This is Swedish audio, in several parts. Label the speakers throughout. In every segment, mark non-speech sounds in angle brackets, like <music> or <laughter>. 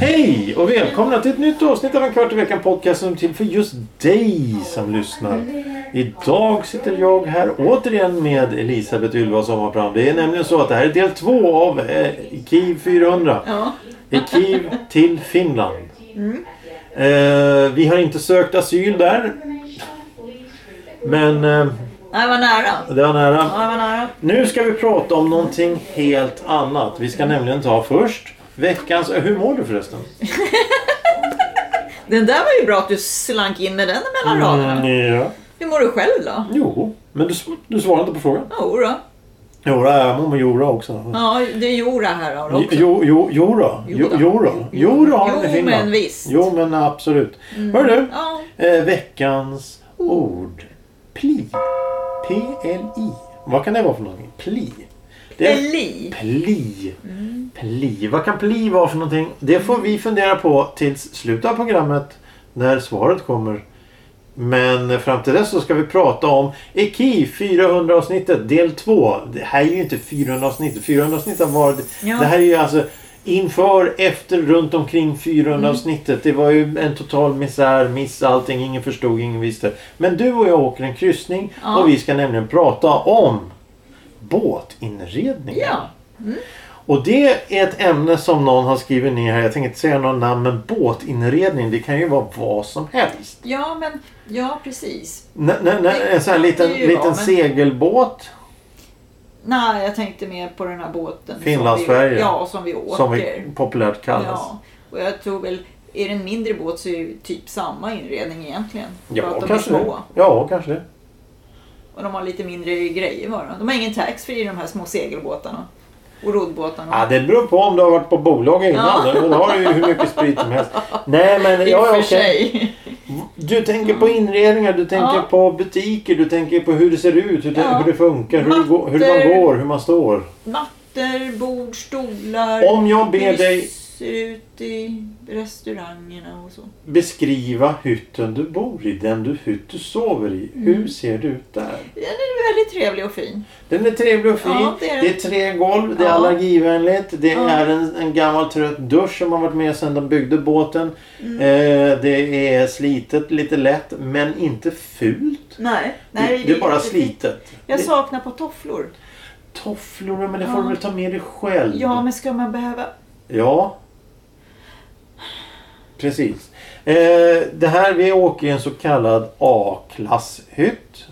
Speaker 1: Hej och välkomna till ett nytt avsnitt av En kvart i veckan podcast som är till för just dig som lyssnar. Idag sitter jag här återigen med Elisabeth Ylva Sommarbrand. Det är nämligen så att det här är del två av eh, KIV 400.
Speaker 2: Ja.
Speaker 1: I Kiev till Finland. Eh, vi har inte sökt asyl där. Men eh,
Speaker 2: Nej, vad nära.
Speaker 1: det var nära.
Speaker 2: Ja, det var nära.
Speaker 1: Nu ska vi prata om någonting helt annat. Vi ska nämligen ta först veckans... eh, Hur mår du förresten?
Speaker 2: Den där var ju bra att du slank in med den mellan
Speaker 1: Mm.
Speaker 2: raderna.
Speaker 1: ja.
Speaker 2: Hur mår du själv då?
Speaker 1: Jo, men du, sv- du svarade inte på frågan.
Speaker 2: Jo då.
Speaker 1: Jora, jag mår med Jora också.
Speaker 2: Ja, det är Jora här då också.
Speaker 1: Jo, jo, jora. Jo,
Speaker 2: Jodå.
Speaker 1: jora. Jora har de i
Speaker 2: Jo,
Speaker 1: Finland.
Speaker 2: men visst. Mm.
Speaker 1: Jo, men absolut. Hör du?
Speaker 2: Ja,
Speaker 1: Eh, veckans ord. Pli. P-L-I. Vad kan det vara för någonting? Pli. Det är
Speaker 2: Eli.
Speaker 1: pli. Pli. Vad kan pli vara för någonting? Det får vi fundera på tills slutet av programmet när svaret kommer. Men fram till dess så ska vi prata om EKI 400 avsnittet del 2. Det här är ju inte 400 avsnittet. 400 avsnitt har varit...
Speaker 2: Ja.
Speaker 1: Det här är ju alltså inför, efter, runt omkring 400
Speaker 2: Mm.
Speaker 1: avsnittet. Det var ju en total misär, miss allting. Ingen förstod, ingen visste. Men du och jag åker en kryssning
Speaker 2: Ja.
Speaker 1: och vi ska nämligen prata om båtinredning.
Speaker 2: Ja.
Speaker 1: Och det är ett ämne som någon har skrivit ner här. Jag tänker inte säga någon namn men båtinredning det kan ju vara vad som helst.
Speaker 2: ja, men ja, precis.
Speaker 1: N- n- n- en sån här
Speaker 2: Det
Speaker 1: liten,
Speaker 2: kan ju
Speaker 1: liten
Speaker 2: vara, men-
Speaker 1: segelbåt
Speaker 2: Nej, jag tänkte mer på den här båten. som
Speaker 1: Finlandsfärjan.
Speaker 2: vi- Ja, som vi åker.
Speaker 1: som vi populärt kallas.
Speaker 2: ja. Och jag tror väl, är det en mindre båt så är det ju typ samma inredning egentligen. Bara att de är
Speaker 1: kanske det.
Speaker 2: små.
Speaker 1: Ja, kanske det.
Speaker 2: Och de har lite mindre grejer bara. De har ingen taxfree i de här små segelbåtarna. Och roddbåtarna.
Speaker 1: Ja, det beror på om du har varit på bolag innan.
Speaker 2: Ja.
Speaker 1: Då har du ju hur mycket sprit som helst. Nej, men ja,
Speaker 2: <laughs> I och
Speaker 1: ja,
Speaker 2: för
Speaker 1: okej.
Speaker 2: sig.
Speaker 1: Du tänker på inredningar, du tänker
Speaker 2: Ja.
Speaker 1: på butiker, du tänker på hur det ser ut, hur, det-
Speaker 2: Ja.
Speaker 1: hur det funkar, hur, det går- hur man
Speaker 2: Mattor.
Speaker 1: går, hur man står.
Speaker 2: Mattor, bord, stolar.
Speaker 1: Om jag ber
Speaker 2: hur
Speaker 1: dig-
Speaker 2: det ser ut i restaurangerna och så.
Speaker 1: Beskriva hytten du bor i, den du hytt du sover i.
Speaker 2: Mm.
Speaker 1: Hur ser det ut där?
Speaker 2: Den är väldigt trevlig och fin.
Speaker 1: Den är trevlig och fin.
Speaker 2: Ja,
Speaker 1: det,
Speaker 2: det
Speaker 1: är
Speaker 2: är
Speaker 1: tre golv, det är
Speaker 2: Ja.
Speaker 1: allergivänligt. Det
Speaker 2: Ja.
Speaker 1: är en, en gammal trött dusch som har varit med sedan de byggde båten.
Speaker 2: Mm.
Speaker 1: Eh, det är slitet, lite lätt, men inte fult.
Speaker 2: Nej, nej
Speaker 1: det, det är bara
Speaker 2: jättefint.
Speaker 1: slitet.
Speaker 2: Jag
Speaker 1: det,
Speaker 2: saknar på tofflor.
Speaker 1: Tofflor, men det får
Speaker 2: Ja.
Speaker 1: du väl ta med dig själv.
Speaker 2: Ja, men ska man behöva...
Speaker 1: Ja. Precis. Eh, det här, vi åker i en så kallad A-klasshytt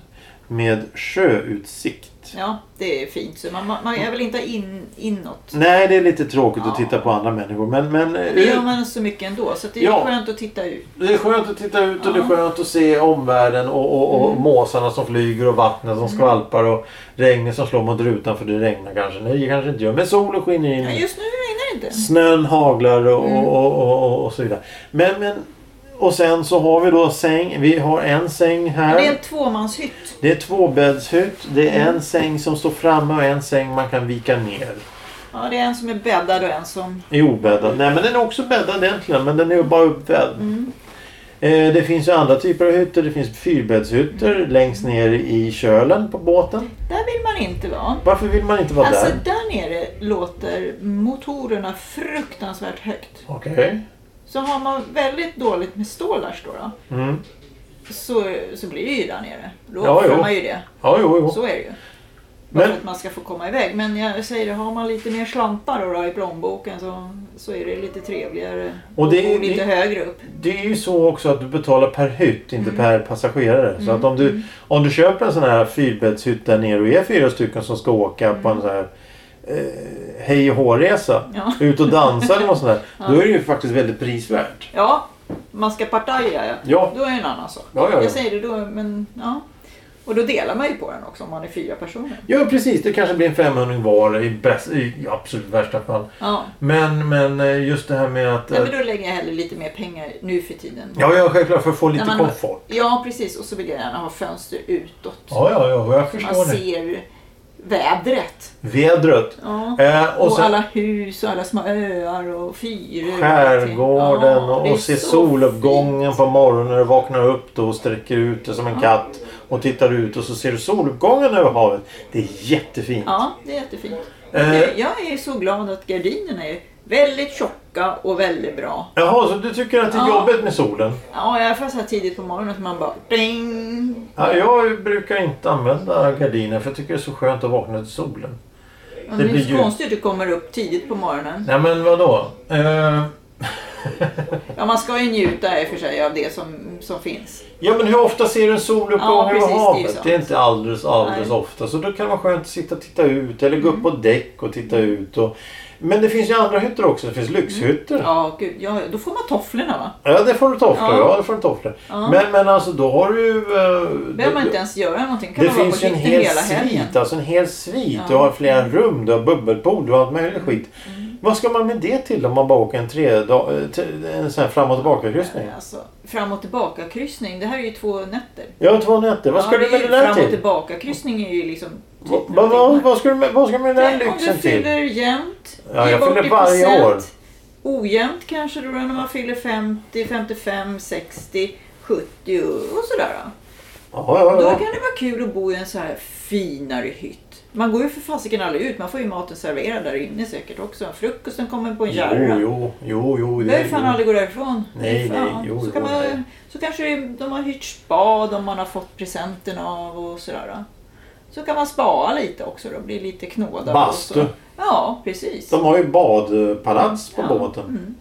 Speaker 1: med sjöutsikt.
Speaker 2: Ja, det är fint. Så man, man, jag vill inte ha in, inåt.
Speaker 1: Nej, det är lite tråkigt att
Speaker 2: Ja.
Speaker 1: titta på andra människor. Men, men eh,
Speaker 2: Det
Speaker 1: ut,
Speaker 2: gör man så mycket ändå. Så det är
Speaker 1: Ja.
Speaker 2: skönt att titta ut.
Speaker 1: det är skönt att titta ut och det är
Speaker 2: Ja.
Speaker 1: skönt att se omvärlden och, och, och måsarna som flyger och vattnet som skvalpar och regnet som slår mot rutan för det regnar kanske. Nej, det kanske inte gör. Men solen skiner in.
Speaker 2: Ja, just nu regnar det inte.
Speaker 1: Snön haglar och,
Speaker 2: Mm.
Speaker 1: och, och, och, och så vidare. Men, men, och sen så har vi då säng. Vi har en säng här.
Speaker 2: Det är en Mm. tvåmanshytt.
Speaker 1: Det är tvåbäddshytt. Det är en säng som står framme och en säng man kan vika ner.
Speaker 2: Ja, det är en som är bäddad och en som...
Speaker 1: I obäddad. Nej men den är också bäddad egentligen men den är ju bara uppvädd.
Speaker 2: Mm.
Speaker 1: Eh, det finns ju andra typer av hytter. Det finns fyrbäddshytter
Speaker 2: Mm.
Speaker 1: längst ner i kölen på båten.
Speaker 2: Där vill man inte vara.
Speaker 1: Varför vill man inte vara
Speaker 2: Alltså
Speaker 1: där?
Speaker 2: där nere låter motorerna fruktansvärt högt.
Speaker 1: Okej.
Speaker 2: Så har man väldigt dåligt med stålars då, då
Speaker 1: Mm.
Speaker 2: så, så blir det ju där nere. Då
Speaker 1: Ja,
Speaker 2: får
Speaker 1: jo.
Speaker 2: man ju det.
Speaker 1: Ja, jo, jo.
Speaker 2: Så är det ju. Bara
Speaker 1: Men-
Speaker 2: för att man ska få komma iväg. Men jag säger det, har man lite mer slantar då, då i plånboken så, så är det lite trevligare.
Speaker 1: Och det är-
Speaker 2: bo lite
Speaker 1: det-
Speaker 2: högre upp.
Speaker 1: Det är ju så också att du betalar per hytt,
Speaker 2: Mm.
Speaker 1: inte per passagerare. Så att om du, om du köper en sån här fyrbäddshytt där nere och är fyra stycken som ska åka på
Speaker 2: Mm.
Speaker 1: en sån här eh, hej och hårresa.
Speaker 2: Ja.
Speaker 1: Ut och dansa eller något sånt där.
Speaker 2: <laughs>
Speaker 1: Då är det ju faktiskt väldigt prisvärt.
Speaker 2: Ja, man ska partaja ja.
Speaker 1: Ja.
Speaker 2: Då är det en annan sak.
Speaker 1: Ja, ja, ja.
Speaker 2: Jag säger det då, men ja. Och då delar man ju på den också om man är fyra personer.
Speaker 1: Ja precis, det kanske blir en 500 var i, bäst, i absolut värsta fall.
Speaker 2: Ja.
Speaker 1: Men, men eh, just det här med att...
Speaker 2: Nej,
Speaker 1: eh,
Speaker 2: men då lägger jag hellre lite mer pengar nu för tiden.
Speaker 1: Ja, ja självklart för att få
Speaker 2: När
Speaker 1: lite
Speaker 2: man-
Speaker 1: komfort.
Speaker 2: Ja, precis. Och så vill jag gärna ha fönster utåt.
Speaker 1: Ja, ja, ja, jag förstår
Speaker 2: Man
Speaker 1: det.
Speaker 2: ser vädret.
Speaker 1: Vädret.
Speaker 2: Ja.
Speaker 1: Eh,
Speaker 2: Och,
Speaker 1: och sen
Speaker 2: alla hus och alla små öar och fyror. och allting.
Speaker 1: skärgården
Speaker 2: Ja,
Speaker 1: och,
Speaker 2: det är
Speaker 1: och se
Speaker 2: så
Speaker 1: soluppgången på morgonen när du vaknar upp då och sträcker ut dig som en katt och tittar ut och så ser du soluppgången över havet. Det är jättefint.
Speaker 2: Ja, det är jättefint.
Speaker 1: Eh.
Speaker 2: Jag- Jag är så glad att gardinerna är väldigt tjocka och väldigt bra.
Speaker 1: Jaha, så du tycker att det är
Speaker 2: Ja.
Speaker 1: jobbigt med solen?
Speaker 2: Ja, i alla fall så här tidigt på morgonen att man bara ding.
Speaker 1: Ja, jag brukar inte använda gardiner för jag tycker det är så skönt att vakna till solen.
Speaker 2: Men
Speaker 1: Det
Speaker 2: det,
Speaker 1: blir
Speaker 2: är
Speaker 1: ju-
Speaker 2: så konstigt att du kommer upp tidigt på morgonen.
Speaker 1: Nej men vadå? Eh,
Speaker 2: Ja, man ska ju njuta i och för sig av det som, som finns.
Speaker 1: ja men hur ofta ser du en soluppgång
Speaker 2: Ja,
Speaker 1: över
Speaker 2: precis, det är ju
Speaker 1: havet?
Speaker 2: sant.
Speaker 1: Det är inte alldeles, alldeles
Speaker 2: Nej. Mm.
Speaker 1: ofta. Så då kan det vara skönt att sitta och titta ut eller gå upp på däck och titta ut. Och... Men det finns ju andra hytter också. Det finns lyxhytter.
Speaker 2: Mm. Ja, gud. Ja, då får man tofflorna va?
Speaker 1: Ja, det får du tofflor. Ja.
Speaker 2: Ja.
Speaker 1: det får du tofflor.
Speaker 2: Ja.
Speaker 1: Men, men alltså då har du ju... eh,
Speaker 2: behöver man
Speaker 1: det-
Speaker 2: inte ens göra någonting. Kan
Speaker 1: Det
Speaker 2: man vara på
Speaker 1: finns ju en
Speaker 2: hytten
Speaker 1: hel
Speaker 2: hela helgen.
Speaker 1: svit. Alltså en hel svit.
Speaker 2: Ja. Mm.
Speaker 1: Du har flera rum, du har bubbelpool, du har allt möjligt skit. Vad ska man med det till om man bara åker en, tre dag, eh, t- en sån här fram och tillbaka-kryssning?
Speaker 2: Alltså, fram och tillbaka kryssning. Det här är ju två nätter.
Speaker 1: Ja, två nätter. Vad ska
Speaker 2: Ja,
Speaker 1: du med
Speaker 2: är ju
Speaker 1: det där
Speaker 2: Fram och
Speaker 1: till?
Speaker 2: tillbaka kryssning är ju liksom... typ
Speaker 1: Va- va-
Speaker 2: några
Speaker 1: va-
Speaker 2: timmar.
Speaker 1: Vad ska du med, vad ska du med den där
Speaker 2: Om du
Speaker 1: lyxen till?
Speaker 2: fyller jämnt.
Speaker 1: Ja,
Speaker 2: ge
Speaker 1: jag
Speaker 2: bort
Speaker 1: fyller
Speaker 2: i
Speaker 1: varje
Speaker 2: procent.
Speaker 1: år.
Speaker 2: Ojämnt kanske då när man fyller 50, 55, 60, 70 och sådär. Då.
Speaker 1: Ja, ja,
Speaker 2: Då
Speaker 1: ja.
Speaker 2: kan det vara kul att bo i en så här finare hytt. Man går ju för fasiken aldrig ut. Man får ju maten serverad där inne säkert också. Frukosten kommer på en
Speaker 1: Jo,
Speaker 2: kärra.
Speaker 1: jo, jo, jo.
Speaker 2: Jag behöver fan
Speaker 1: jo.
Speaker 2: aldrig gå därifrån.
Speaker 1: Nej,
Speaker 2: Fan.
Speaker 1: nej, jo,
Speaker 2: så, kan
Speaker 1: jo, nej.
Speaker 2: man, så kanske det- de har hyrt spa, de man har fått presenten av och sådär. då. Så kan man spaa lite också då, bli lite knådad.
Speaker 1: Bastu.
Speaker 2: Och så. Ja, precis.
Speaker 1: De har ju badpalats på
Speaker 2: Ja,
Speaker 1: båten.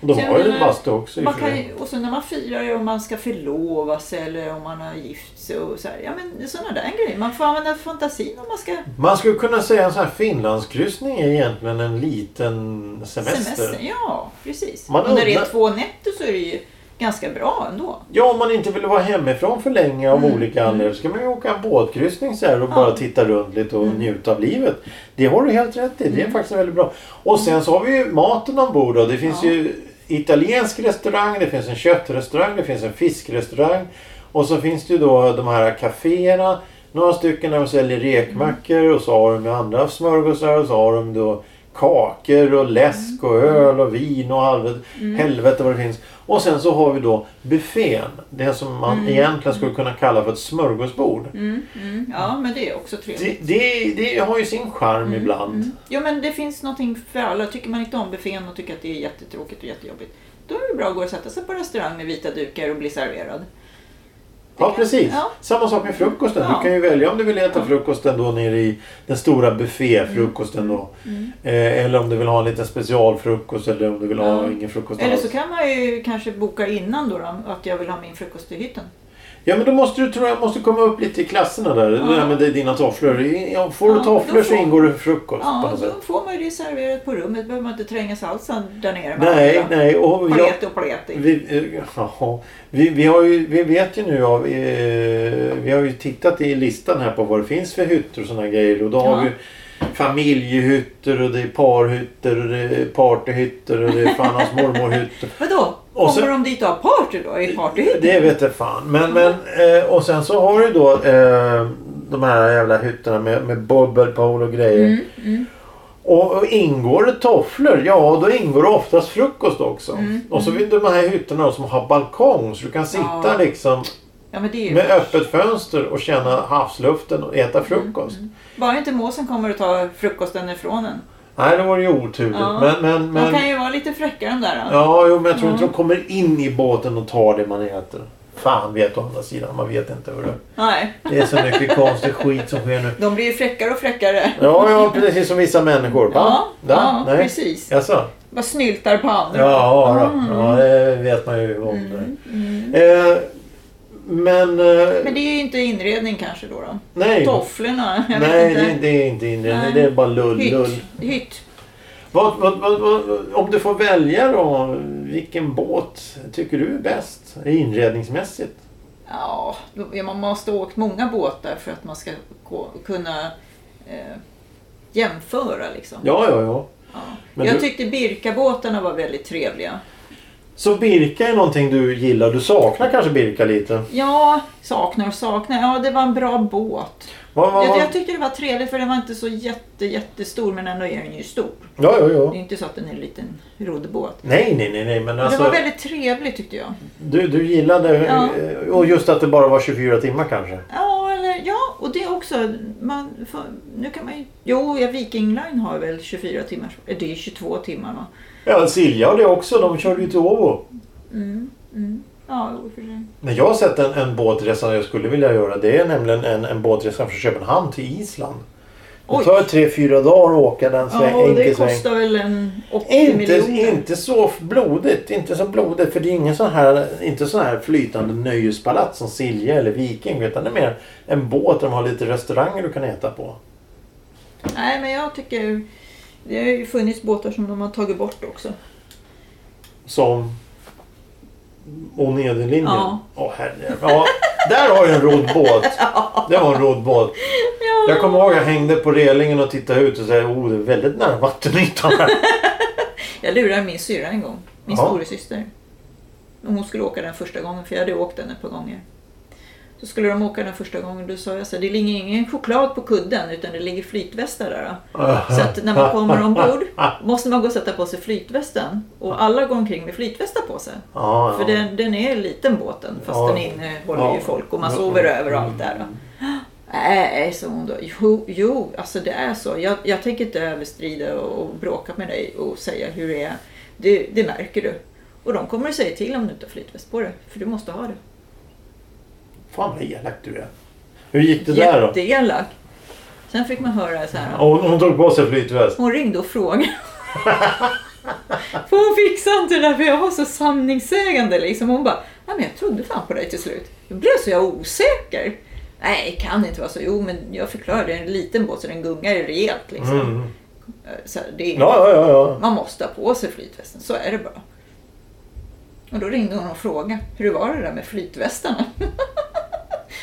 Speaker 1: Och de
Speaker 2: Så jag
Speaker 1: har ju
Speaker 2: menar,
Speaker 1: bastu också. i
Speaker 2: man
Speaker 1: och för
Speaker 2: kan,
Speaker 1: sig.
Speaker 2: ju- och så när man firar ju om man ska förlova sig eller om man har gift sig och så här. Ja men sådana där grejer. Man får använda fantasin om man ska
Speaker 1: Man skulle kunna säga en sån här Finlandskryssning är egentligen en liten semester.
Speaker 2: semester. Ja, precis.
Speaker 1: Man
Speaker 2: och när det är
Speaker 1: undrar-
Speaker 2: två nätter så är det ju ganska bra ändå.
Speaker 1: Ja, om man inte vill vara hemifrån för länge
Speaker 2: Mm,
Speaker 1: av olika anledningar så kan man ju åka en båtkryssning så här och bara titta runt lite och
Speaker 2: Mm.
Speaker 1: njuta av livet. Det har du helt rätt i. Det är faktiskt väldigt bra. Och sen så har vi ju maten ombord då. Det finns
Speaker 2: Ja.
Speaker 1: ju italiensk restaurang, det finns en köttrestaurang, det finns en fiskrestaurang. Och så finns det ju då de här kaféerna. Några stycken där de säljer
Speaker 2: Mm.
Speaker 1: rekmackor och så har de ju andra smörgåsar och så har de då kakor och läsk och
Speaker 2: Mm.
Speaker 1: öl och vin och helvete, helvete vad det finns. Och sen så har vi då buffén. Det som man egentligen skulle kunna kalla för ett smörgåsbord.
Speaker 2: Mm, mm, ja, men det är också trevligt.
Speaker 1: Det, det, det har ju sin charm
Speaker 2: Mm,
Speaker 1: ibland.
Speaker 2: Jo men det finns någonting för alla. Tycker man inte om buffén och tycker att det är jättetråkigt och jättejobbigt. Då är det bra att gå och sätta sig på restaurang med vita dukar och bli serverad.
Speaker 1: Ja,
Speaker 2: Det kan-
Speaker 1: precis.
Speaker 2: ja.
Speaker 1: Samma sak med frukosten.
Speaker 2: Ja.
Speaker 1: Du kan ju välja om du vill äta frukosten då nere i den stora bufféfrukosten då.
Speaker 2: Mm.
Speaker 1: Eh, eller om du vill ha en liten specialfrukost eller om du vill ha
Speaker 2: Ja.
Speaker 1: ingen frukost
Speaker 2: Eller
Speaker 1: alls.
Speaker 2: så kan man ju kanske boka innan då, då att jag vill ha min frukost i hytten.
Speaker 1: Ja, men då måste du tror jag måste komma upp lite i klasserna där. Det där med dina tofflor. I- ja, Får du
Speaker 2: Ja,
Speaker 1: tofflor
Speaker 2: då
Speaker 1: så
Speaker 2: får-
Speaker 1: ingår det frukost på
Speaker 2: Ja,
Speaker 1: något sätt.
Speaker 2: då får man ju det serverat på rummet. behöver man inte tränga salsan där nere. med
Speaker 1: Nej,
Speaker 2: andra.
Speaker 1: nej. Och jag,
Speaker 2: Paleti och paleti.
Speaker 1: vi, eh, jaha. vi, vi, har ju, vi vet ju nu av... Eh, vi har ju tittat i listan här på vad det finns för hytter och sådana grejer. Och då har
Speaker 2: Ja.
Speaker 1: vi familjehytter och det är parhytter och det är partyhytter och det är fan hans
Speaker 2: <laughs>
Speaker 1: mormorhytter.
Speaker 2: Vadå?
Speaker 1: Och
Speaker 2: Kommer
Speaker 1: sen-
Speaker 2: de dit och har party då? I partyhytten?
Speaker 1: Det vet jag fan. Men, men, eh, och sen så har du då eh, de här jävla hytterna med, med bubbelpool och grejer.
Speaker 2: Mm, mm.
Speaker 1: Och, och ingår det tofflor, ja då ingår det oftast frukost också.
Speaker 2: Mm,
Speaker 1: Och så vill de här hytterna då som har balkong så du kan sitta
Speaker 2: Ja.
Speaker 1: liksom
Speaker 2: Ja, men det är ju...
Speaker 1: med öppet fönster och känna havsluften och äta frukost.
Speaker 2: Mm, Bara inte måsen kommer och tar frukosten ifrån en.
Speaker 1: Nej, det var ju oturligt.
Speaker 2: Ja.
Speaker 1: Men, men,
Speaker 2: De
Speaker 1: men,
Speaker 2: kan ju vara lite fräcka de där. då.
Speaker 1: ja, jo, men jag tror inte de kommer in i båten och tar det man äter. Fan vet å andra sidan, man vet inte. Hur det,
Speaker 2: Nej.
Speaker 1: det är så mycket konstig skit som sker nu.
Speaker 2: De blir ju fräckare och fräckare.
Speaker 1: Ja, ja, precis som vissa människor. Va?
Speaker 2: Ja,
Speaker 1: Da?
Speaker 2: ja,
Speaker 1: Nej.
Speaker 2: precis. Mm.
Speaker 1: Jaså?
Speaker 2: Bara snyltar på
Speaker 1: Ja,
Speaker 2: andra.
Speaker 1: ja, då. ja, det vet man ju om. det. Eh, men, eh,
Speaker 2: Mm. Men det är ju inte inredning kanske då. då.
Speaker 1: nej.
Speaker 2: Tofflorna, jag
Speaker 1: Nej,
Speaker 2: vet
Speaker 1: det,
Speaker 2: inte.
Speaker 1: det är inte inredning.
Speaker 2: Nej.
Speaker 1: Det är bara lull, lull.
Speaker 2: Hytt. Hytt.
Speaker 1: Vad, vad, vad, vad, om du får välja då, vilken båt tycker du är bäst inredningsmässigt?
Speaker 2: Ja, då- ja, man måste ha åkt många båtar för att man ska gå- kunna eh, jämföra liksom.
Speaker 1: Ja, ja, ja.
Speaker 2: Ja.
Speaker 1: Men
Speaker 2: Jag
Speaker 1: du-
Speaker 2: tyckte Birkabåtarna var väldigt trevliga.
Speaker 1: Så Birka är någonting du gillar. Du saknar kanske Birka lite.
Speaker 2: Ja, saknar och saknar. Ja, det var en bra båt.
Speaker 1: Vad, vad,
Speaker 2: Jag,
Speaker 1: vad?
Speaker 2: jag tyckte det var trevligt för den var inte så jätte, jättestor men ändå är den ju stor.
Speaker 1: Ja, ja,
Speaker 2: Det är
Speaker 1: ja.
Speaker 2: inte så att den är en liten roddbåt.
Speaker 1: Nej, nej, nej, nej. Men
Speaker 2: Det var
Speaker 1: alltså,
Speaker 2: väldigt trevligt tyckte jag.
Speaker 1: du, du gillade...
Speaker 2: Ja.
Speaker 1: eh, Och just att det bara var 24 timmar kanske.
Speaker 2: Ja, eller, ja och det också. Man, får- nu kan man ju, jo, ja, Viking Line har väl 24 timmar. eh, Det är 22 timmar va?
Speaker 1: Ja, Silja och det också. De körde ju till Åbo.
Speaker 2: Mm, mm. Ja, jo, för sig.
Speaker 1: Men jag har sett en, en båtresa jag skulle vilja göra. Det är nämligen en, en båtresa från Köpenhamn till Island. Det
Speaker 2: Oj.
Speaker 1: tar tre, fyra dagar att åka den sväng,
Speaker 2: Ja, och det
Speaker 1: enkel Alltså, sväng.
Speaker 2: kostar väl en 80
Speaker 1: Inte,
Speaker 2: miljoner.
Speaker 1: inte så blodigt. Inte så blodigt. För det är ingen sån här, inte sån här flytande nöjespalats som Silja eller Viking. Utan det är mer en båt där de har lite restauranger du kan äta på.
Speaker 2: Nej, men jag tycker... Det har ju funnits båtar som de har tagit bort också.
Speaker 1: Som... Och nederlinjen.
Speaker 2: Ja.
Speaker 1: Åh herre. Ja, där har jag en
Speaker 2: <laughs>
Speaker 1: roddbåt. Det var en roddbåt. Jag kommer ihåg jag hängde på relingen och tittade ut och sa oh det är väldigt nära vattenytan här.
Speaker 2: Jag lurade min syrra en gång. Min
Speaker 1: Ja.
Speaker 2: storasyster. Hon skulle åka den första gången, för jag hade åkt den ett par gånger. Så skulle de åka den första gången, då sa jag så här, det ligger ingen choklad på kudden utan det ligger flytvästar där. då." <laughs> Så att när man kommer ombord måste man gå och sätta på sig flytvästen. Och alla går omkring med flytvästar på sig.
Speaker 1: Ja, ja.
Speaker 2: För den, den är liten båten fast
Speaker 1: Ja.
Speaker 2: den innehåller
Speaker 1: Ja.
Speaker 2: ju folk och man
Speaker 1: Ja. Mm.
Speaker 2: sover över och allt där. Nej, sa hon då. Jo, jo alltså det är så. Jag, jag tänker inte överstrida och, och bråka med dig och säga hur det är. Det, det märker du. Och de kommer att säga till om du inte har flytväst på dig. För du måste ha det.
Speaker 1: Fan vad elak du är. Hur gick det där då?
Speaker 2: Jätteelak. Sen fick man höra så här.
Speaker 1: Hon, hon tog på sig flytväst.
Speaker 2: Hon ringde och frågade. För hon fixade inte det där för jag var så sanningssägande liksom. Hon bara, ja men jag trodde fan på dig till slut. Jag blev så jag osäker. Nej, det kan inte vara så. Jo, men jag förklarade, det är en liten båt så den gungar ju rejält liksom. Eh,
Speaker 1: Mm.
Speaker 2: Så här, det är,
Speaker 1: Ja, ja, ja, ja.
Speaker 2: Man måste ha på sig flytvästen, så är det bara. Och då ringde hon och frågade, hur var det där med flytvästarna? <laughs>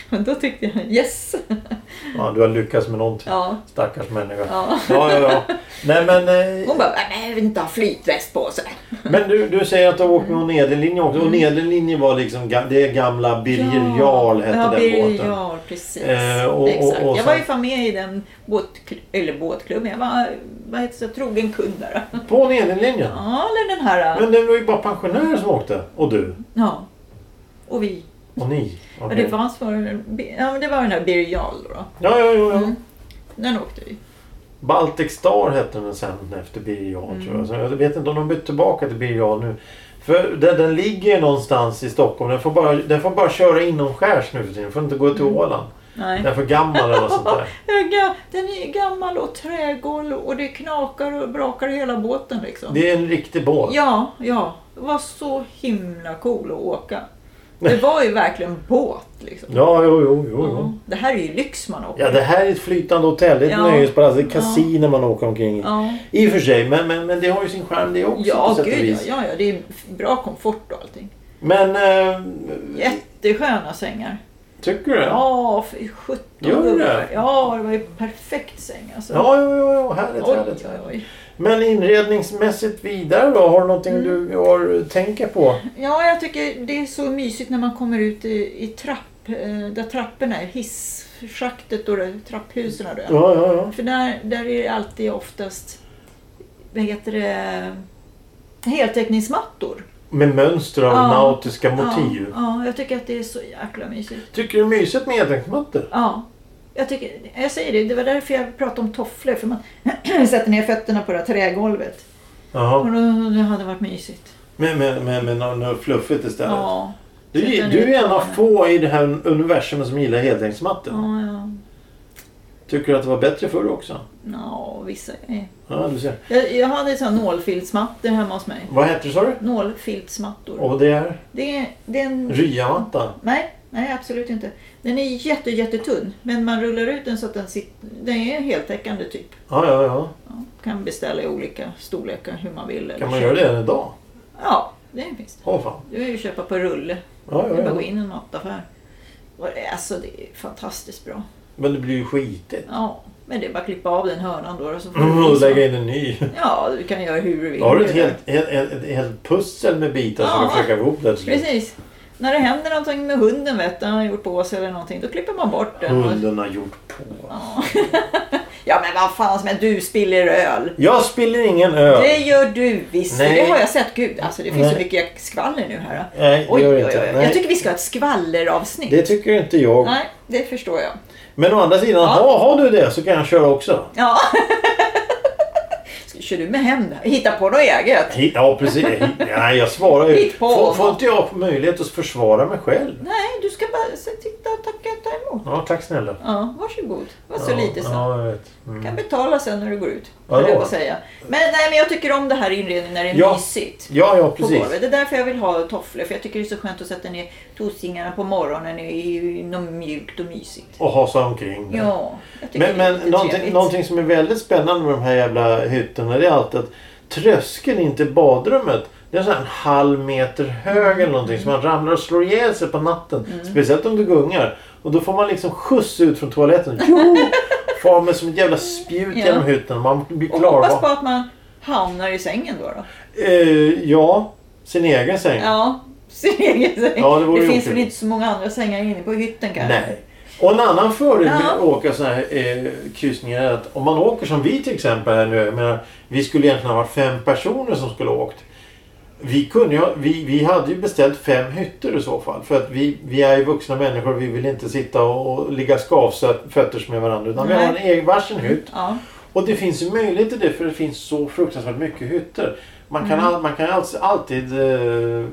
Speaker 2: Och då tyckte jag, yes! <laughs>
Speaker 1: ja. Du har lyckats med någonting.
Speaker 2: Ja,
Speaker 1: Stackars människa.
Speaker 2: ja.
Speaker 1: Ja, ja, ja. Nej, men, eh,
Speaker 2: Hon bara, nej jag vill inte ha flytväst på sig.
Speaker 1: men du, du säger att du har åkt med hon
Speaker 2: Mm.
Speaker 1: nederlinje också. Och nederlinje var liksom ga- det gamla Birger Jarl hette
Speaker 2: ja,
Speaker 1: den
Speaker 2: Birger
Speaker 1: båten.
Speaker 2: Jarl, precis.
Speaker 1: Eh, och- och-
Speaker 2: Exakt.
Speaker 1: och
Speaker 2: jag
Speaker 1: sen-
Speaker 2: var ju fan med i den båt, eller båtklubben. Jag var vad heter det, trogen kund där.
Speaker 1: På nederlinjen?
Speaker 2: Ja, eller den här. eh,
Speaker 1: Men det var ju bara pensionärer som åkte. Och du.
Speaker 2: Ja. Och vi.
Speaker 1: Och ni.
Speaker 2: Ja,
Speaker 1: Okej.
Speaker 2: det, fanns för, ja, men det var den här Birger Jarl då.
Speaker 1: Ja, ja, ja. ja.
Speaker 2: Mm. Den åkte vi.
Speaker 1: Baltic Star hette den sen efter Birger Jarl tror
Speaker 2: Mm.
Speaker 1: jag. Så jag vet inte om de bytt tillbaka till Birger Jarl nu. För den, den ligger ju någonstans i Stockholm. Den får bara, den får bara köra inomskärs nu för tiden. Den får inte gå
Speaker 2: Mm.
Speaker 1: till Åland.
Speaker 2: Nej.
Speaker 1: Den är för gammal eller något sånt
Speaker 2: <laughs>
Speaker 1: där.
Speaker 2: Den är ga- Den är gammal och trägolv och det knakar och brakar i hela båten liksom.
Speaker 1: Det är en riktig båt.
Speaker 2: Ja, ja. Det var så himla cool att åka. Det var ju verkligen båt liksom.
Speaker 1: Ja, jo, jo, jo.
Speaker 2: Ja.
Speaker 1: jo.
Speaker 2: Det här är ju lyx man åker.
Speaker 1: Ja, det här är ett flytande hotell. Det är ett
Speaker 2: Mm. Ja.
Speaker 1: nöjespalats. Det är ett kasino man åker omkring i.
Speaker 2: Ja,
Speaker 1: I och för sig, men, men, men det har ju sin charm det också på
Speaker 2: ja
Speaker 1: sätt och
Speaker 2: gud ja,
Speaker 1: vis.
Speaker 2: ja, ja. Det är bra komfort och allting.
Speaker 1: Men... Eh,
Speaker 2: Jättesköna sängar.
Speaker 1: tycker du?
Speaker 2: Ja, för 17
Speaker 1: Gör det?
Speaker 2: gubbar. Ja, det var ju perfekt säng alltså.
Speaker 1: Ja, jo, jo, jo. Härligt,
Speaker 2: oj,
Speaker 1: härligt.
Speaker 2: oj, oj.
Speaker 1: Men inredningsmässigt vidare då? Har du någonting du har, tänker på?
Speaker 2: Mm. Ja, jag tycker det är så mysigt när man kommer ut i, i trapp, eh, där trapporna är, hisschaktet och det- trapphusen och det.
Speaker 1: Ja, ja, ja.
Speaker 2: För där, där är det alltid oftast, vad heter det, heltäckningsmattor.
Speaker 1: Med mönster av
Speaker 2: Ja.
Speaker 1: nautiska motiv.
Speaker 2: Ja, ja, jag tycker att det är så jäkla mysigt.
Speaker 1: Tycker du det är mysigt med heltäckningsmattor?
Speaker 2: Ja, jag, tycker, jag säger det, det var därför jag pratade om tofflor. För man <clears throat> sätter ner fötterna på det här trägolvet. Och
Speaker 1: Jaha.
Speaker 2: då, det hade varit mysigt.
Speaker 1: Med, med, med, med något, något fluffigt istället.
Speaker 2: Ja,
Speaker 1: Du,
Speaker 2: Sätta
Speaker 1: du
Speaker 2: ner
Speaker 1: är en av
Speaker 2: tårna.
Speaker 1: få i det här universumet som gillar heltäckningsmattor.
Speaker 2: ja, ja.
Speaker 1: Tycker du att det var bättre förr också?
Speaker 2: Ja, vissa grejer.
Speaker 1: Ja, du ser.
Speaker 2: Jag, jag hade sådana nålfiltsmattor hemma hos mig.
Speaker 1: Vad hette det sa du?
Speaker 2: Nålfiltsmattor.
Speaker 1: Och det är
Speaker 2: Det, är- det är en...
Speaker 1: ryamatta.
Speaker 2: Nej, nej absolut inte. Den är jätte, jättetunn. Men man rullar ut den så att den sitter... Den är heltäckande typ.
Speaker 1: Ja, ja, ja.
Speaker 2: Ja, kan beställa i olika storlekar hur man vill. eller
Speaker 1: Kan man
Speaker 2: köpa.
Speaker 1: göra det än idag?
Speaker 2: Ja, det finns det.
Speaker 1: Åh fan.
Speaker 2: Du är ju köpa på rulle.
Speaker 1: Ja,
Speaker 2: Det är bara
Speaker 1: ja,
Speaker 2: att gå
Speaker 1: ja.
Speaker 2: in i en mataffär. Och det är- Alltså det är fantastiskt bra.
Speaker 1: Men det blir ju skitigt.
Speaker 2: Ja, men det är bara att klippa av den hörnan då. Och så får du
Speaker 1: Mm, och
Speaker 2: visa.
Speaker 1: lägga in en ny.
Speaker 2: Ja, du kan göra hur du vill.
Speaker 1: Då har du ett
Speaker 2: Det där.
Speaker 1: helt, helt, helt, ett helt pussel med bitar som
Speaker 2: Ja.
Speaker 1: du försöker få ihop där till slut.
Speaker 2: Precis. när det händer någonting med hunden vet du, han har gjort på sig eller någonting, då klipper man bort den. Och,
Speaker 1: Hunden har gjort på.
Speaker 2: ja. ja men vad fan som är du spiller öl.
Speaker 1: Jag spiller ingen öl.
Speaker 2: Det gör du visst.
Speaker 1: Nej.
Speaker 2: Det har jag sett. Gud, alltså det finns så
Speaker 1: Nej.
Speaker 2: mycket skvaller nu här. då.
Speaker 1: Nej, det
Speaker 2: Oj,
Speaker 1: gör
Speaker 2: oj,
Speaker 1: det
Speaker 2: oj.
Speaker 1: inte. Nej.
Speaker 2: Jag tycker vi ska ha ett skvalleravsnitt.
Speaker 1: Det tycker inte jag.
Speaker 2: Nej, det förstår jag.
Speaker 1: Men å andra sidan,
Speaker 2: Ja.
Speaker 1: har, har du det så kan jag köra också.
Speaker 2: Ja. <laughs> Ska- Kör du med hem det? Hitta på något eget?
Speaker 1: Hit- Ja, precis. Hit- Nej, jag svarar ju.
Speaker 2: Hit på
Speaker 1: Får,
Speaker 2: honom.
Speaker 1: får inte jag möjlighet att försvara mig själv?
Speaker 2: Nej, du ska bara se- titta och tacka och ta emot.
Speaker 1: Ja, tack snälla.
Speaker 2: Ja, varsågod. Var så
Speaker 1: ja,
Speaker 2: lite så.
Speaker 1: Ja, jag vet. Mm.
Speaker 2: Kan betala sen när du går ut.
Speaker 1: Ja,
Speaker 2: höll jag
Speaker 1: då.
Speaker 2: på att säga. Men, nej, men jag tycker om det här i inredningen när det är
Speaker 1: Ja.
Speaker 2: mysigt.
Speaker 1: Ja, ja,
Speaker 2: på
Speaker 1: precis.
Speaker 2: golvet. Det är därför jag vill ha tofflor. För jag tycker det är så skönt att sätta ner tosingarna på morgonen i något mjukt och mysigt.
Speaker 1: Och hasa omkring. där.
Speaker 2: Ja, jag tycker
Speaker 1: Men,
Speaker 2: det är
Speaker 1: men
Speaker 2: lite
Speaker 1: någonting,
Speaker 2: trevligt.
Speaker 1: någonting som är väldigt spännande med de här jävla hytterna det är alltid att tröskeln in till badrummet det är så här en halv meter hög eller någonting så man ramlar och slår ihjäl sig på natten.
Speaker 2: Mm.
Speaker 1: Speciellt om du gungar. Och då får man liksom skjuts ut från toaletten. Jo! Far med som ett jävla spjut
Speaker 2: Ja.
Speaker 1: genom hytten. Man blir
Speaker 2: Och hoppas på
Speaker 1: klar.
Speaker 2: att man hamnar i sängen då. då.
Speaker 1: Eh, ja, sin egen säng.
Speaker 2: Ja, <laughs> sin egen säng.
Speaker 1: Ja, det vore ju
Speaker 2: finns väl
Speaker 1: otrevligt.
Speaker 2: inte så många andra sängar inne på hytten kanske?
Speaker 1: Nej. Och en annan fördel med
Speaker 2: Ja.
Speaker 1: att åka sådana här eh, kryssningar är att om man åker som vi till exempel här nu. Jag menar, vi skulle egentligen ha varit fem personer som skulle ha åkt. Vi, kunde ju, ha- vi, vi hade ju beställt fem hytter i så fall. För att vi, vi är ju vuxna människor och vi vill inte sitta och, och ligga skavfötters med varandra. Utan vi
Speaker 2: Nej.
Speaker 1: har en egen varsin hytt.
Speaker 2: Ja,
Speaker 1: Och det finns ju möjlighet till det för det finns så fruktansvärt mycket hytter. Man
Speaker 2: Mm.
Speaker 1: kan, all, man kan alltså alltid... Eh,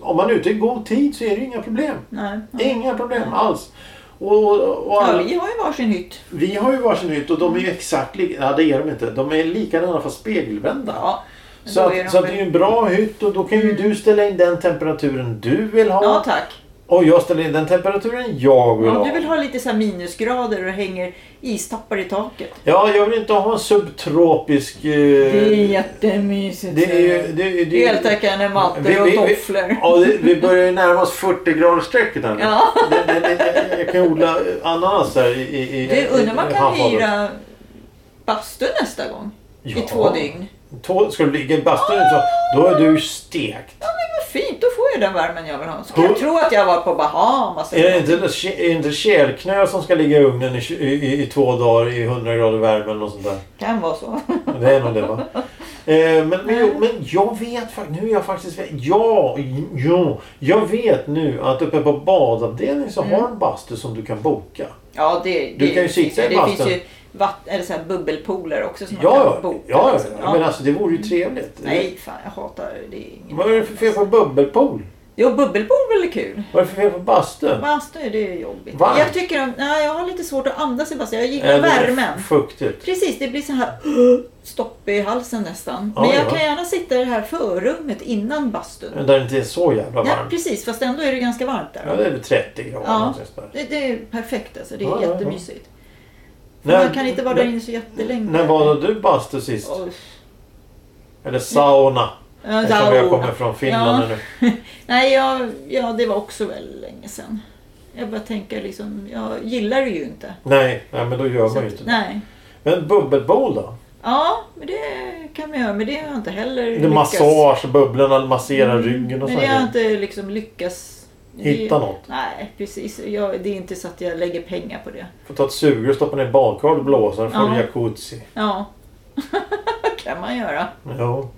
Speaker 1: om man är ute i god tid så är det ju inga problem.
Speaker 2: nej. Ja.
Speaker 1: Inga problem alls. Och, och, och
Speaker 2: Ja,
Speaker 1: alla,
Speaker 2: vi Mm. har ju varsin hytt.
Speaker 1: vi har ju varsin hytt och de är ju exakt lika... Ja, det är de inte. De är likadana fast spegelvända.
Speaker 2: Ja, men
Speaker 1: så
Speaker 2: då
Speaker 1: att,
Speaker 2: är de
Speaker 1: så att det
Speaker 2: väl- Mm.
Speaker 1: är ju en bra hytt och då kan ju du ställa in den temperaturen du vill ha.
Speaker 2: ja tack.
Speaker 1: Och jag ställer in den temperaturen jag vill
Speaker 2: Ja,
Speaker 1: ha.
Speaker 2: du vill ha lite så här minusgrader och hänger istappar i taket.
Speaker 1: Ja, jag vill inte ha en subtropisk... Eh...
Speaker 2: Det är jättemysigt.
Speaker 1: det är ju... Det, är- det, är-
Speaker 2: Heltäckande mattor
Speaker 1: Vi-
Speaker 2: och
Speaker 1: vi- vi-
Speaker 2: tofflor.
Speaker 1: Ja, det, vi börjar ju närma oss 40 grader strecket här nu.
Speaker 2: Ja.
Speaker 1: Det, det, det, jag- jag kan odla ananas här i, i, i
Speaker 2: Du, undrar om man
Speaker 1: i
Speaker 2: kan
Speaker 1: handfatet.
Speaker 2: hyra bastu nästa gång? I
Speaker 1: Ja.
Speaker 2: två dygn.
Speaker 1: Två, ska du ligga i bastun så, då är du stekt.
Speaker 2: Vad fint, då får jag den värmen jag vill ha. Så kan jag
Speaker 1: Hur-
Speaker 2: tro att jag var på Bahamas.
Speaker 1: Är
Speaker 2: eller
Speaker 1: det inte, är det inte kärlknö som ska ligga i ugnen i, tj- i, i- i två dagar i 100 grader värme eller något sånt där?
Speaker 2: något. kan vara så.
Speaker 1: Det är nog det va? Eh, men, men, jo, men jag vet faktiskt, nu är jag faktiskt ja, ja, jag vet nu att uppe på badavdelningen så har
Speaker 2: Mm.
Speaker 1: en bastu som du kan boka.
Speaker 2: Ja, det, det,
Speaker 1: Du kan ju
Speaker 2: det
Speaker 1: sitta i
Speaker 2: finns, ju- Det finns
Speaker 1: bastun.
Speaker 2: ju vatt, eller så här bubbelpooler också som man
Speaker 1: Ja,
Speaker 2: kan
Speaker 1: ja,
Speaker 2: boka.
Speaker 1: ja,
Speaker 2: liksom.
Speaker 1: ja, men alltså det vore ju trevligt.
Speaker 2: Nej, fan jag hatar det. det. är inget-
Speaker 1: Vad är det för fel på bubbelpool?
Speaker 2: Jo, bubbelpool är väl kul?
Speaker 1: Vad är det för fel på bastun?
Speaker 2: Bastu, det är jobbigt.
Speaker 1: Varmt.
Speaker 2: Jag tycker om, nej, jag har lite svårt att andas Sebastian. Jag gillar
Speaker 1: Eller
Speaker 2: värmen.
Speaker 1: Fuktigt.
Speaker 2: Precis, det blir så här <gasps> stopp i halsen nästan.
Speaker 1: Ja,
Speaker 2: Men jag
Speaker 1: ja.
Speaker 2: kan gärna sitta i det här förrummet innan bastun.
Speaker 1: Där det inte är så jävla
Speaker 2: Ja,
Speaker 1: varmt.
Speaker 2: precis, fast ändå är det ganska varmt
Speaker 1: Ja,
Speaker 2: där.
Speaker 1: det är väl 30 grader.
Speaker 2: Ja,
Speaker 1: någonstans där.
Speaker 2: det, det är perfekt alltså. Det är
Speaker 1: Ja, ja, ja.
Speaker 2: jättemysigt.
Speaker 1: När-
Speaker 2: Man kan inte vara där inne så jättelänge.
Speaker 1: När badade du bastu sist?
Speaker 2: Och-
Speaker 1: Eller sauna?
Speaker 2: Ja,
Speaker 1: Eftersom jag kommer
Speaker 2: där,
Speaker 1: från Finland
Speaker 2: Ja.
Speaker 1: nu.
Speaker 2: Nej, jag, ja, det var också väl länge sedan. Jag bara tänker liksom, jag gillar det ju inte.
Speaker 1: Nej, nej, men då gör
Speaker 2: Så
Speaker 1: man ju
Speaker 2: att,
Speaker 1: inte det.
Speaker 2: nej.
Speaker 1: Men bubbelpool då?
Speaker 2: Ja, men det kan man göra. Men det har jag inte heller
Speaker 1: Det är massage, bubblorna masserar ryggen och
Speaker 2: Men det har jag
Speaker 1: sånt.
Speaker 2: inte liksom lyckats...
Speaker 1: Hitta
Speaker 2: det-
Speaker 1: något.
Speaker 2: Nej, precis. Jag, det är inte så att jag lägger pengar på det.
Speaker 1: Får ta ett sugrör och stoppa ner i badkaret och blåsa. Då får du
Speaker 2: Ja.
Speaker 1: jacuzzi.
Speaker 2: Ja, <laughs> kan man göra.
Speaker 1: Ja.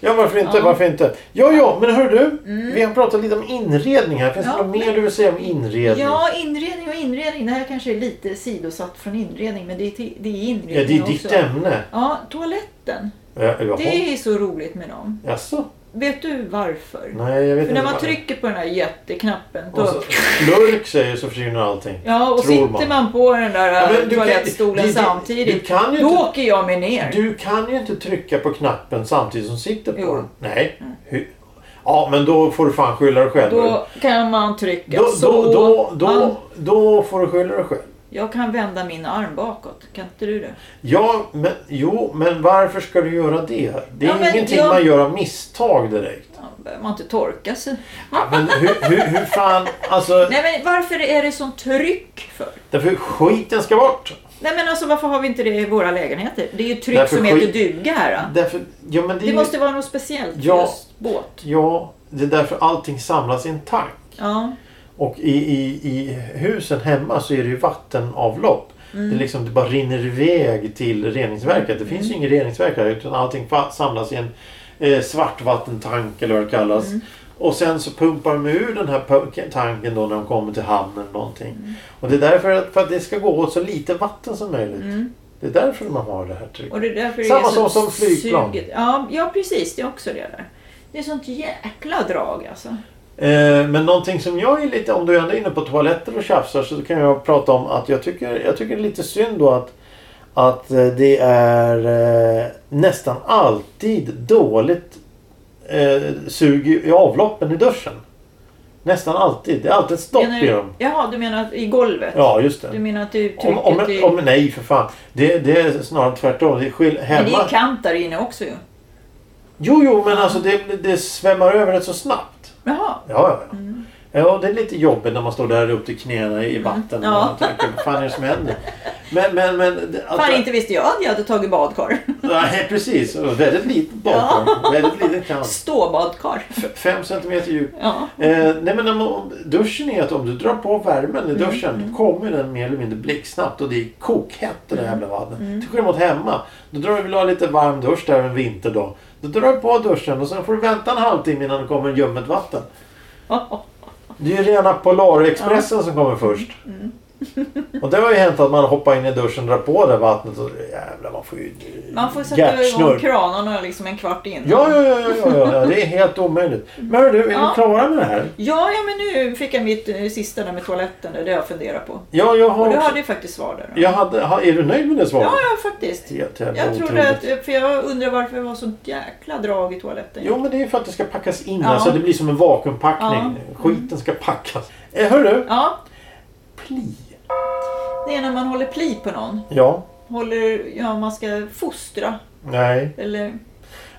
Speaker 1: Ja, varför inte?
Speaker 2: Ja. Mm.
Speaker 1: Varför inte? Ja, ja, men hör du. Vi har pratat lite om inredning här. Finns
Speaker 2: Ja,
Speaker 1: det något mer
Speaker 2: men-
Speaker 1: du vill säga om inredning?
Speaker 2: Ja, inredning och inredning. Det här kanske är lite sidosatt från inredning, men det är, till, det är inredning
Speaker 1: Ja, det är ditt
Speaker 2: också.
Speaker 1: ämne.
Speaker 2: Ja, toaletten.
Speaker 1: Ja, Jaha.
Speaker 2: Det är så roligt med dem.
Speaker 1: Jaså?
Speaker 2: Vet du varför?
Speaker 1: Nej, jag vet
Speaker 2: För
Speaker 1: inte.
Speaker 2: när man
Speaker 1: vad-
Speaker 2: trycker på den här jätteknappen då...
Speaker 1: Och så slurk säger så försvinner allting.
Speaker 2: Ja, och
Speaker 1: tror man.
Speaker 2: sitter man. på den där
Speaker 1: Ja, men
Speaker 2: äh,
Speaker 1: du kan-
Speaker 2: toalettstolen
Speaker 1: det- det-
Speaker 2: samtidigt,
Speaker 1: du kan ju
Speaker 2: då
Speaker 1: inte-
Speaker 2: åker jag mig ner.
Speaker 1: Du kan ju inte trycka på knappen samtidigt som sitter på
Speaker 2: Jo.
Speaker 1: den. Nej. Hur- Ja, men då får du fan skylla dig själv.
Speaker 2: Då kan man trycka
Speaker 1: då,
Speaker 2: så.
Speaker 1: då, då,
Speaker 2: Man-
Speaker 1: då, då får du skylla dig själv.
Speaker 2: Jag kan vända min arm bakåt. Kan inte du det?
Speaker 1: Ja, men, jo, men varför ska du göra det? Det är
Speaker 2: Ja, men
Speaker 1: ingenting
Speaker 2: jag-
Speaker 1: man gör av misstag direkt.
Speaker 2: Ja, behöver man inte torka sig.
Speaker 1: Ja, Men hur, hur, hur fan... Alltså,
Speaker 2: Nej men varför är det sånt tryck för?
Speaker 1: därför skiten ska bort.
Speaker 2: Nej men alltså varför har vi inte det i våra lägenheter? Det är ju tryck
Speaker 1: Därför
Speaker 2: som
Speaker 1: skit-
Speaker 2: heter duga här. Då.
Speaker 1: Därför, ja, men det, är
Speaker 2: Det
Speaker 1: ju-
Speaker 2: måste vara något speciellt för
Speaker 1: Ja.
Speaker 2: just båt.
Speaker 1: Ja, det är därför allting samlas i en tank.
Speaker 2: Ja,
Speaker 1: Och i, i, i husen hemma så är det ju vattenavlopp. Det, är liksom, det bara rinner iväg till reningsverket. Det finns ju inget reningsverk här utan allting fa- samlas i en eh, svartvattentank eller vad det kallas. Och sen så pumpar de ur den här pu- tanken då när de kommer till hamnen eller någonting. Och det är därför att, för att det ska gå åt så lite vatten som möjligt. Det är därför man har det här trycket.
Speaker 2: och det är därför det
Speaker 1: Samma
Speaker 2: är så
Speaker 1: som- som flygplan.
Speaker 2: suget- Ja, ja, precis. Det är också det där. Det är sånt jäkla drag alltså.
Speaker 1: Eh, men någonting som jag är lite, om du ändå är inne på toaletter och tjafsar så kan jag prata om att jag tycker, jag tycker det är lite synd då att, att eh, det är eh, nästan alltid dåligt eh, sug i i avloppen i duschen. Nästan alltid. Det är alltid ett stopp
Speaker 2: Menar
Speaker 1: i
Speaker 2: du-
Speaker 1: dem.
Speaker 2: Jaha, du menar att i golvet?
Speaker 1: Ja, just det.
Speaker 2: Du menar att du trycker
Speaker 1: Om, om,
Speaker 2: till...
Speaker 1: om, nej, för fan. Det, det är snarare tvärtom. Det är skill-
Speaker 2: men
Speaker 1: hemma.
Speaker 2: det är kant där inne också ju.
Speaker 1: Jo, jo, men alltså det, det svämmar över rätt så snabbt.
Speaker 2: Jaha.
Speaker 1: Ja, ja, ja. ja och det är lite jobbigt när man står där upp till knäna i vatten
Speaker 2: Mm. Mm. Ja.
Speaker 1: och tänker vad fan är det som händer? Men, men, men... det- att-
Speaker 2: Fan, inte visste jag att jag hade tagit badkar.
Speaker 1: Nej, precis. Och Väldigt litet bakom. Väldigt liten kant.
Speaker 2: <laughs> Ståbadkar.
Speaker 1: F- Fem centimeter djup.
Speaker 2: Ja.
Speaker 1: Eh, nej men när man, duschen är att om du drar på värmen i
Speaker 2: Mm,
Speaker 1: duschen då kommer den mer eller mindre blixtsnabbt och det är kokhett det där
Speaker 2: Mm,
Speaker 1: jävla vattnet. Till skillnad mot hemma. Då drar du vill ha lite varm dusch där en vinterdag. Då drar du på duschen och sen får du vänta en halvtimme innan det kommer ljummet vatten. Det är ju rena Polarexpressen som kommer först.
Speaker 2: Mm, <laughs>
Speaker 1: och det har ju hänt att man hoppar in i duschen och drar på det vattnet och jävlar man får ju
Speaker 2: Man får sätta igång
Speaker 1: hjärtsnurr.
Speaker 2: kranarna liksom en kvart in.
Speaker 1: Ja, ja, ja, ja, ja, ja, det är helt omöjligt. Men hörru, är
Speaker 2: Mm. Ja.
Speaker 1: vi klara med det här?
Speaker 2: Ja, ja, men nu fick jag mitt eh, sista där med toaletten. Det är det jag funderar på.
Speaker 1: Ja, jag har
Speaker 2: Och du
Speaker 1: också...
Speaker 2: hade ju faktiskt svar där. då.
Speaker 1: Jag hade, ha- är du nöjd med det svaret?
Speaker 2: Ja, ja, faktiskt.
Speaker 1: Helt jävla
Speaker 2: Jag trodde
Speaker 1: otroligt.
Speaker 2: att, för jag undrar varför det var sånt jäkla drag i toaletten.
Speaker 1: Jo, men det är för att det ska packas in
Speaker 2: Ja.
Speaker 1: här så det blir som en vakuumpackning.
Speaker 2: Ja. Mm.
Speaker 1: Skiten ska packas. Eh, hörru,
Speaker 2: Ja,
Speaker 1: pli.
Speaker 2: det är när man håller pli på någon.
Speaker 1: Ja.
Speaker 2: Håller, ja, man ska fostra.
Speaker 1: Nej.
Speaker 2: Eller,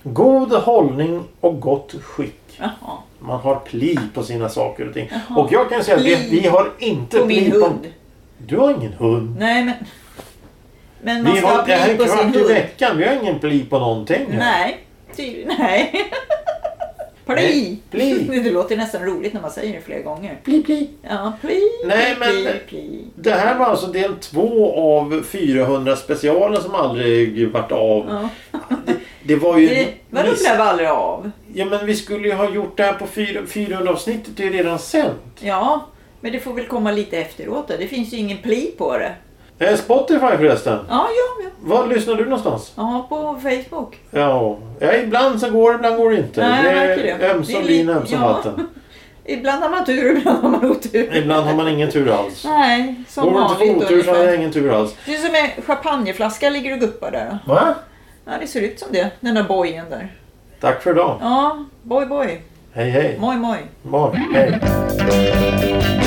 Speaker 1: God hållning och gott skick.
Speaker 2: jaha.
Speaker 1: Man har pli på sina saker och ting.
Speaker 2: Jaha.
Speaker 1: Och jag kan säga att vi,
Speaker 2: Pli.
Speaker 1: vi har inte
Speaker 2: På
Speaker 1: pli
Speaker 2: min hund.
Speaker 1: Du har ingen hund.
Speaker 2: Nej, men... Men man
Speaker 1: Vi
Speaker 2: ska ha
Speaker 1: har, det här
Speaker 2: pli
Speaker 1: är
Speaker 2: på sin
Speaker 1: kvart i
Speaker 2: hund.
Speaker 1: veckan. Vi har ingen pli på någonting. här.
Speaker 2: Nej, ty, nej. <laughs> Pli!
Speaker 1: Nej, pli.
Speaker 2: <laughs> Det låter nästan roligt när man säger det fler gånger.
Speaker 1: Pli, pli.
Speaker 2: Ja, pli,
Speaker 1: Nej,
Speaker 2: pli, pli,
Speaker 1: men-
Speaker 2: pli.
Speaker 1: Det här var alltså del två av 400 specialer som aldrig vart av.
Speaker 2: Ja.
Speaker 1: Det, det var ju...
Speaker 2: Det- Vadå
Speaker 1: miss-
Speaker 2: blev aldrig av?
Speaker 1: Ja men vi skulle ju ha gjort det här på 400 avsnittet, det är ju redan sänt.
Speaker 2: Ja, men det får väl komma lite efteråt då. Det finns ju ingen pli på det.
Speaker 1: Eh, Spotify förresten.
Speaker 2: Ja, ja, ja.
Speaker 1: Var lyssnar du någonstans?
Speaker 2: ja på Facebook.
Speaker 1: Ja, ja ibland så går det, ibland går det inte.
Speaker 2: Nej,
Speaker 1: det
Speaker 2: jag märker det.
Speaker 1: ömsom
Speaker 2: Det är li-
Speaker 1: vin, ömsom
Speaker 2: ja.
Speaker 1: vatten.
Speaker 2: Ibland har man tur, <laughs> ibland har man otur.
Speaker 1: Ibland har man ingen tur alls.
Speaker 2: Nej, som
Speaker 1: Går det inte
Speaker 2: vanligt
Speaker 1: för otur så har
Speaker 2: ungefär.
Speaker 1: jag ingen tur alls.
Speaker 2: Det är som en champagneflaska ligger och guppar där.
Speaker 1: Va?
Speaker 2: Ja, det ser ut som det. Den där bojen där.
Speaker 1: Tack
Speaker 2: 哦
Speaker 1: för idag.
Speaker 2: Ja, boj boj.
Speaker 1: Hej hej.
Speaker 2: Moj moj.
Speaker 1: Moj. Hej.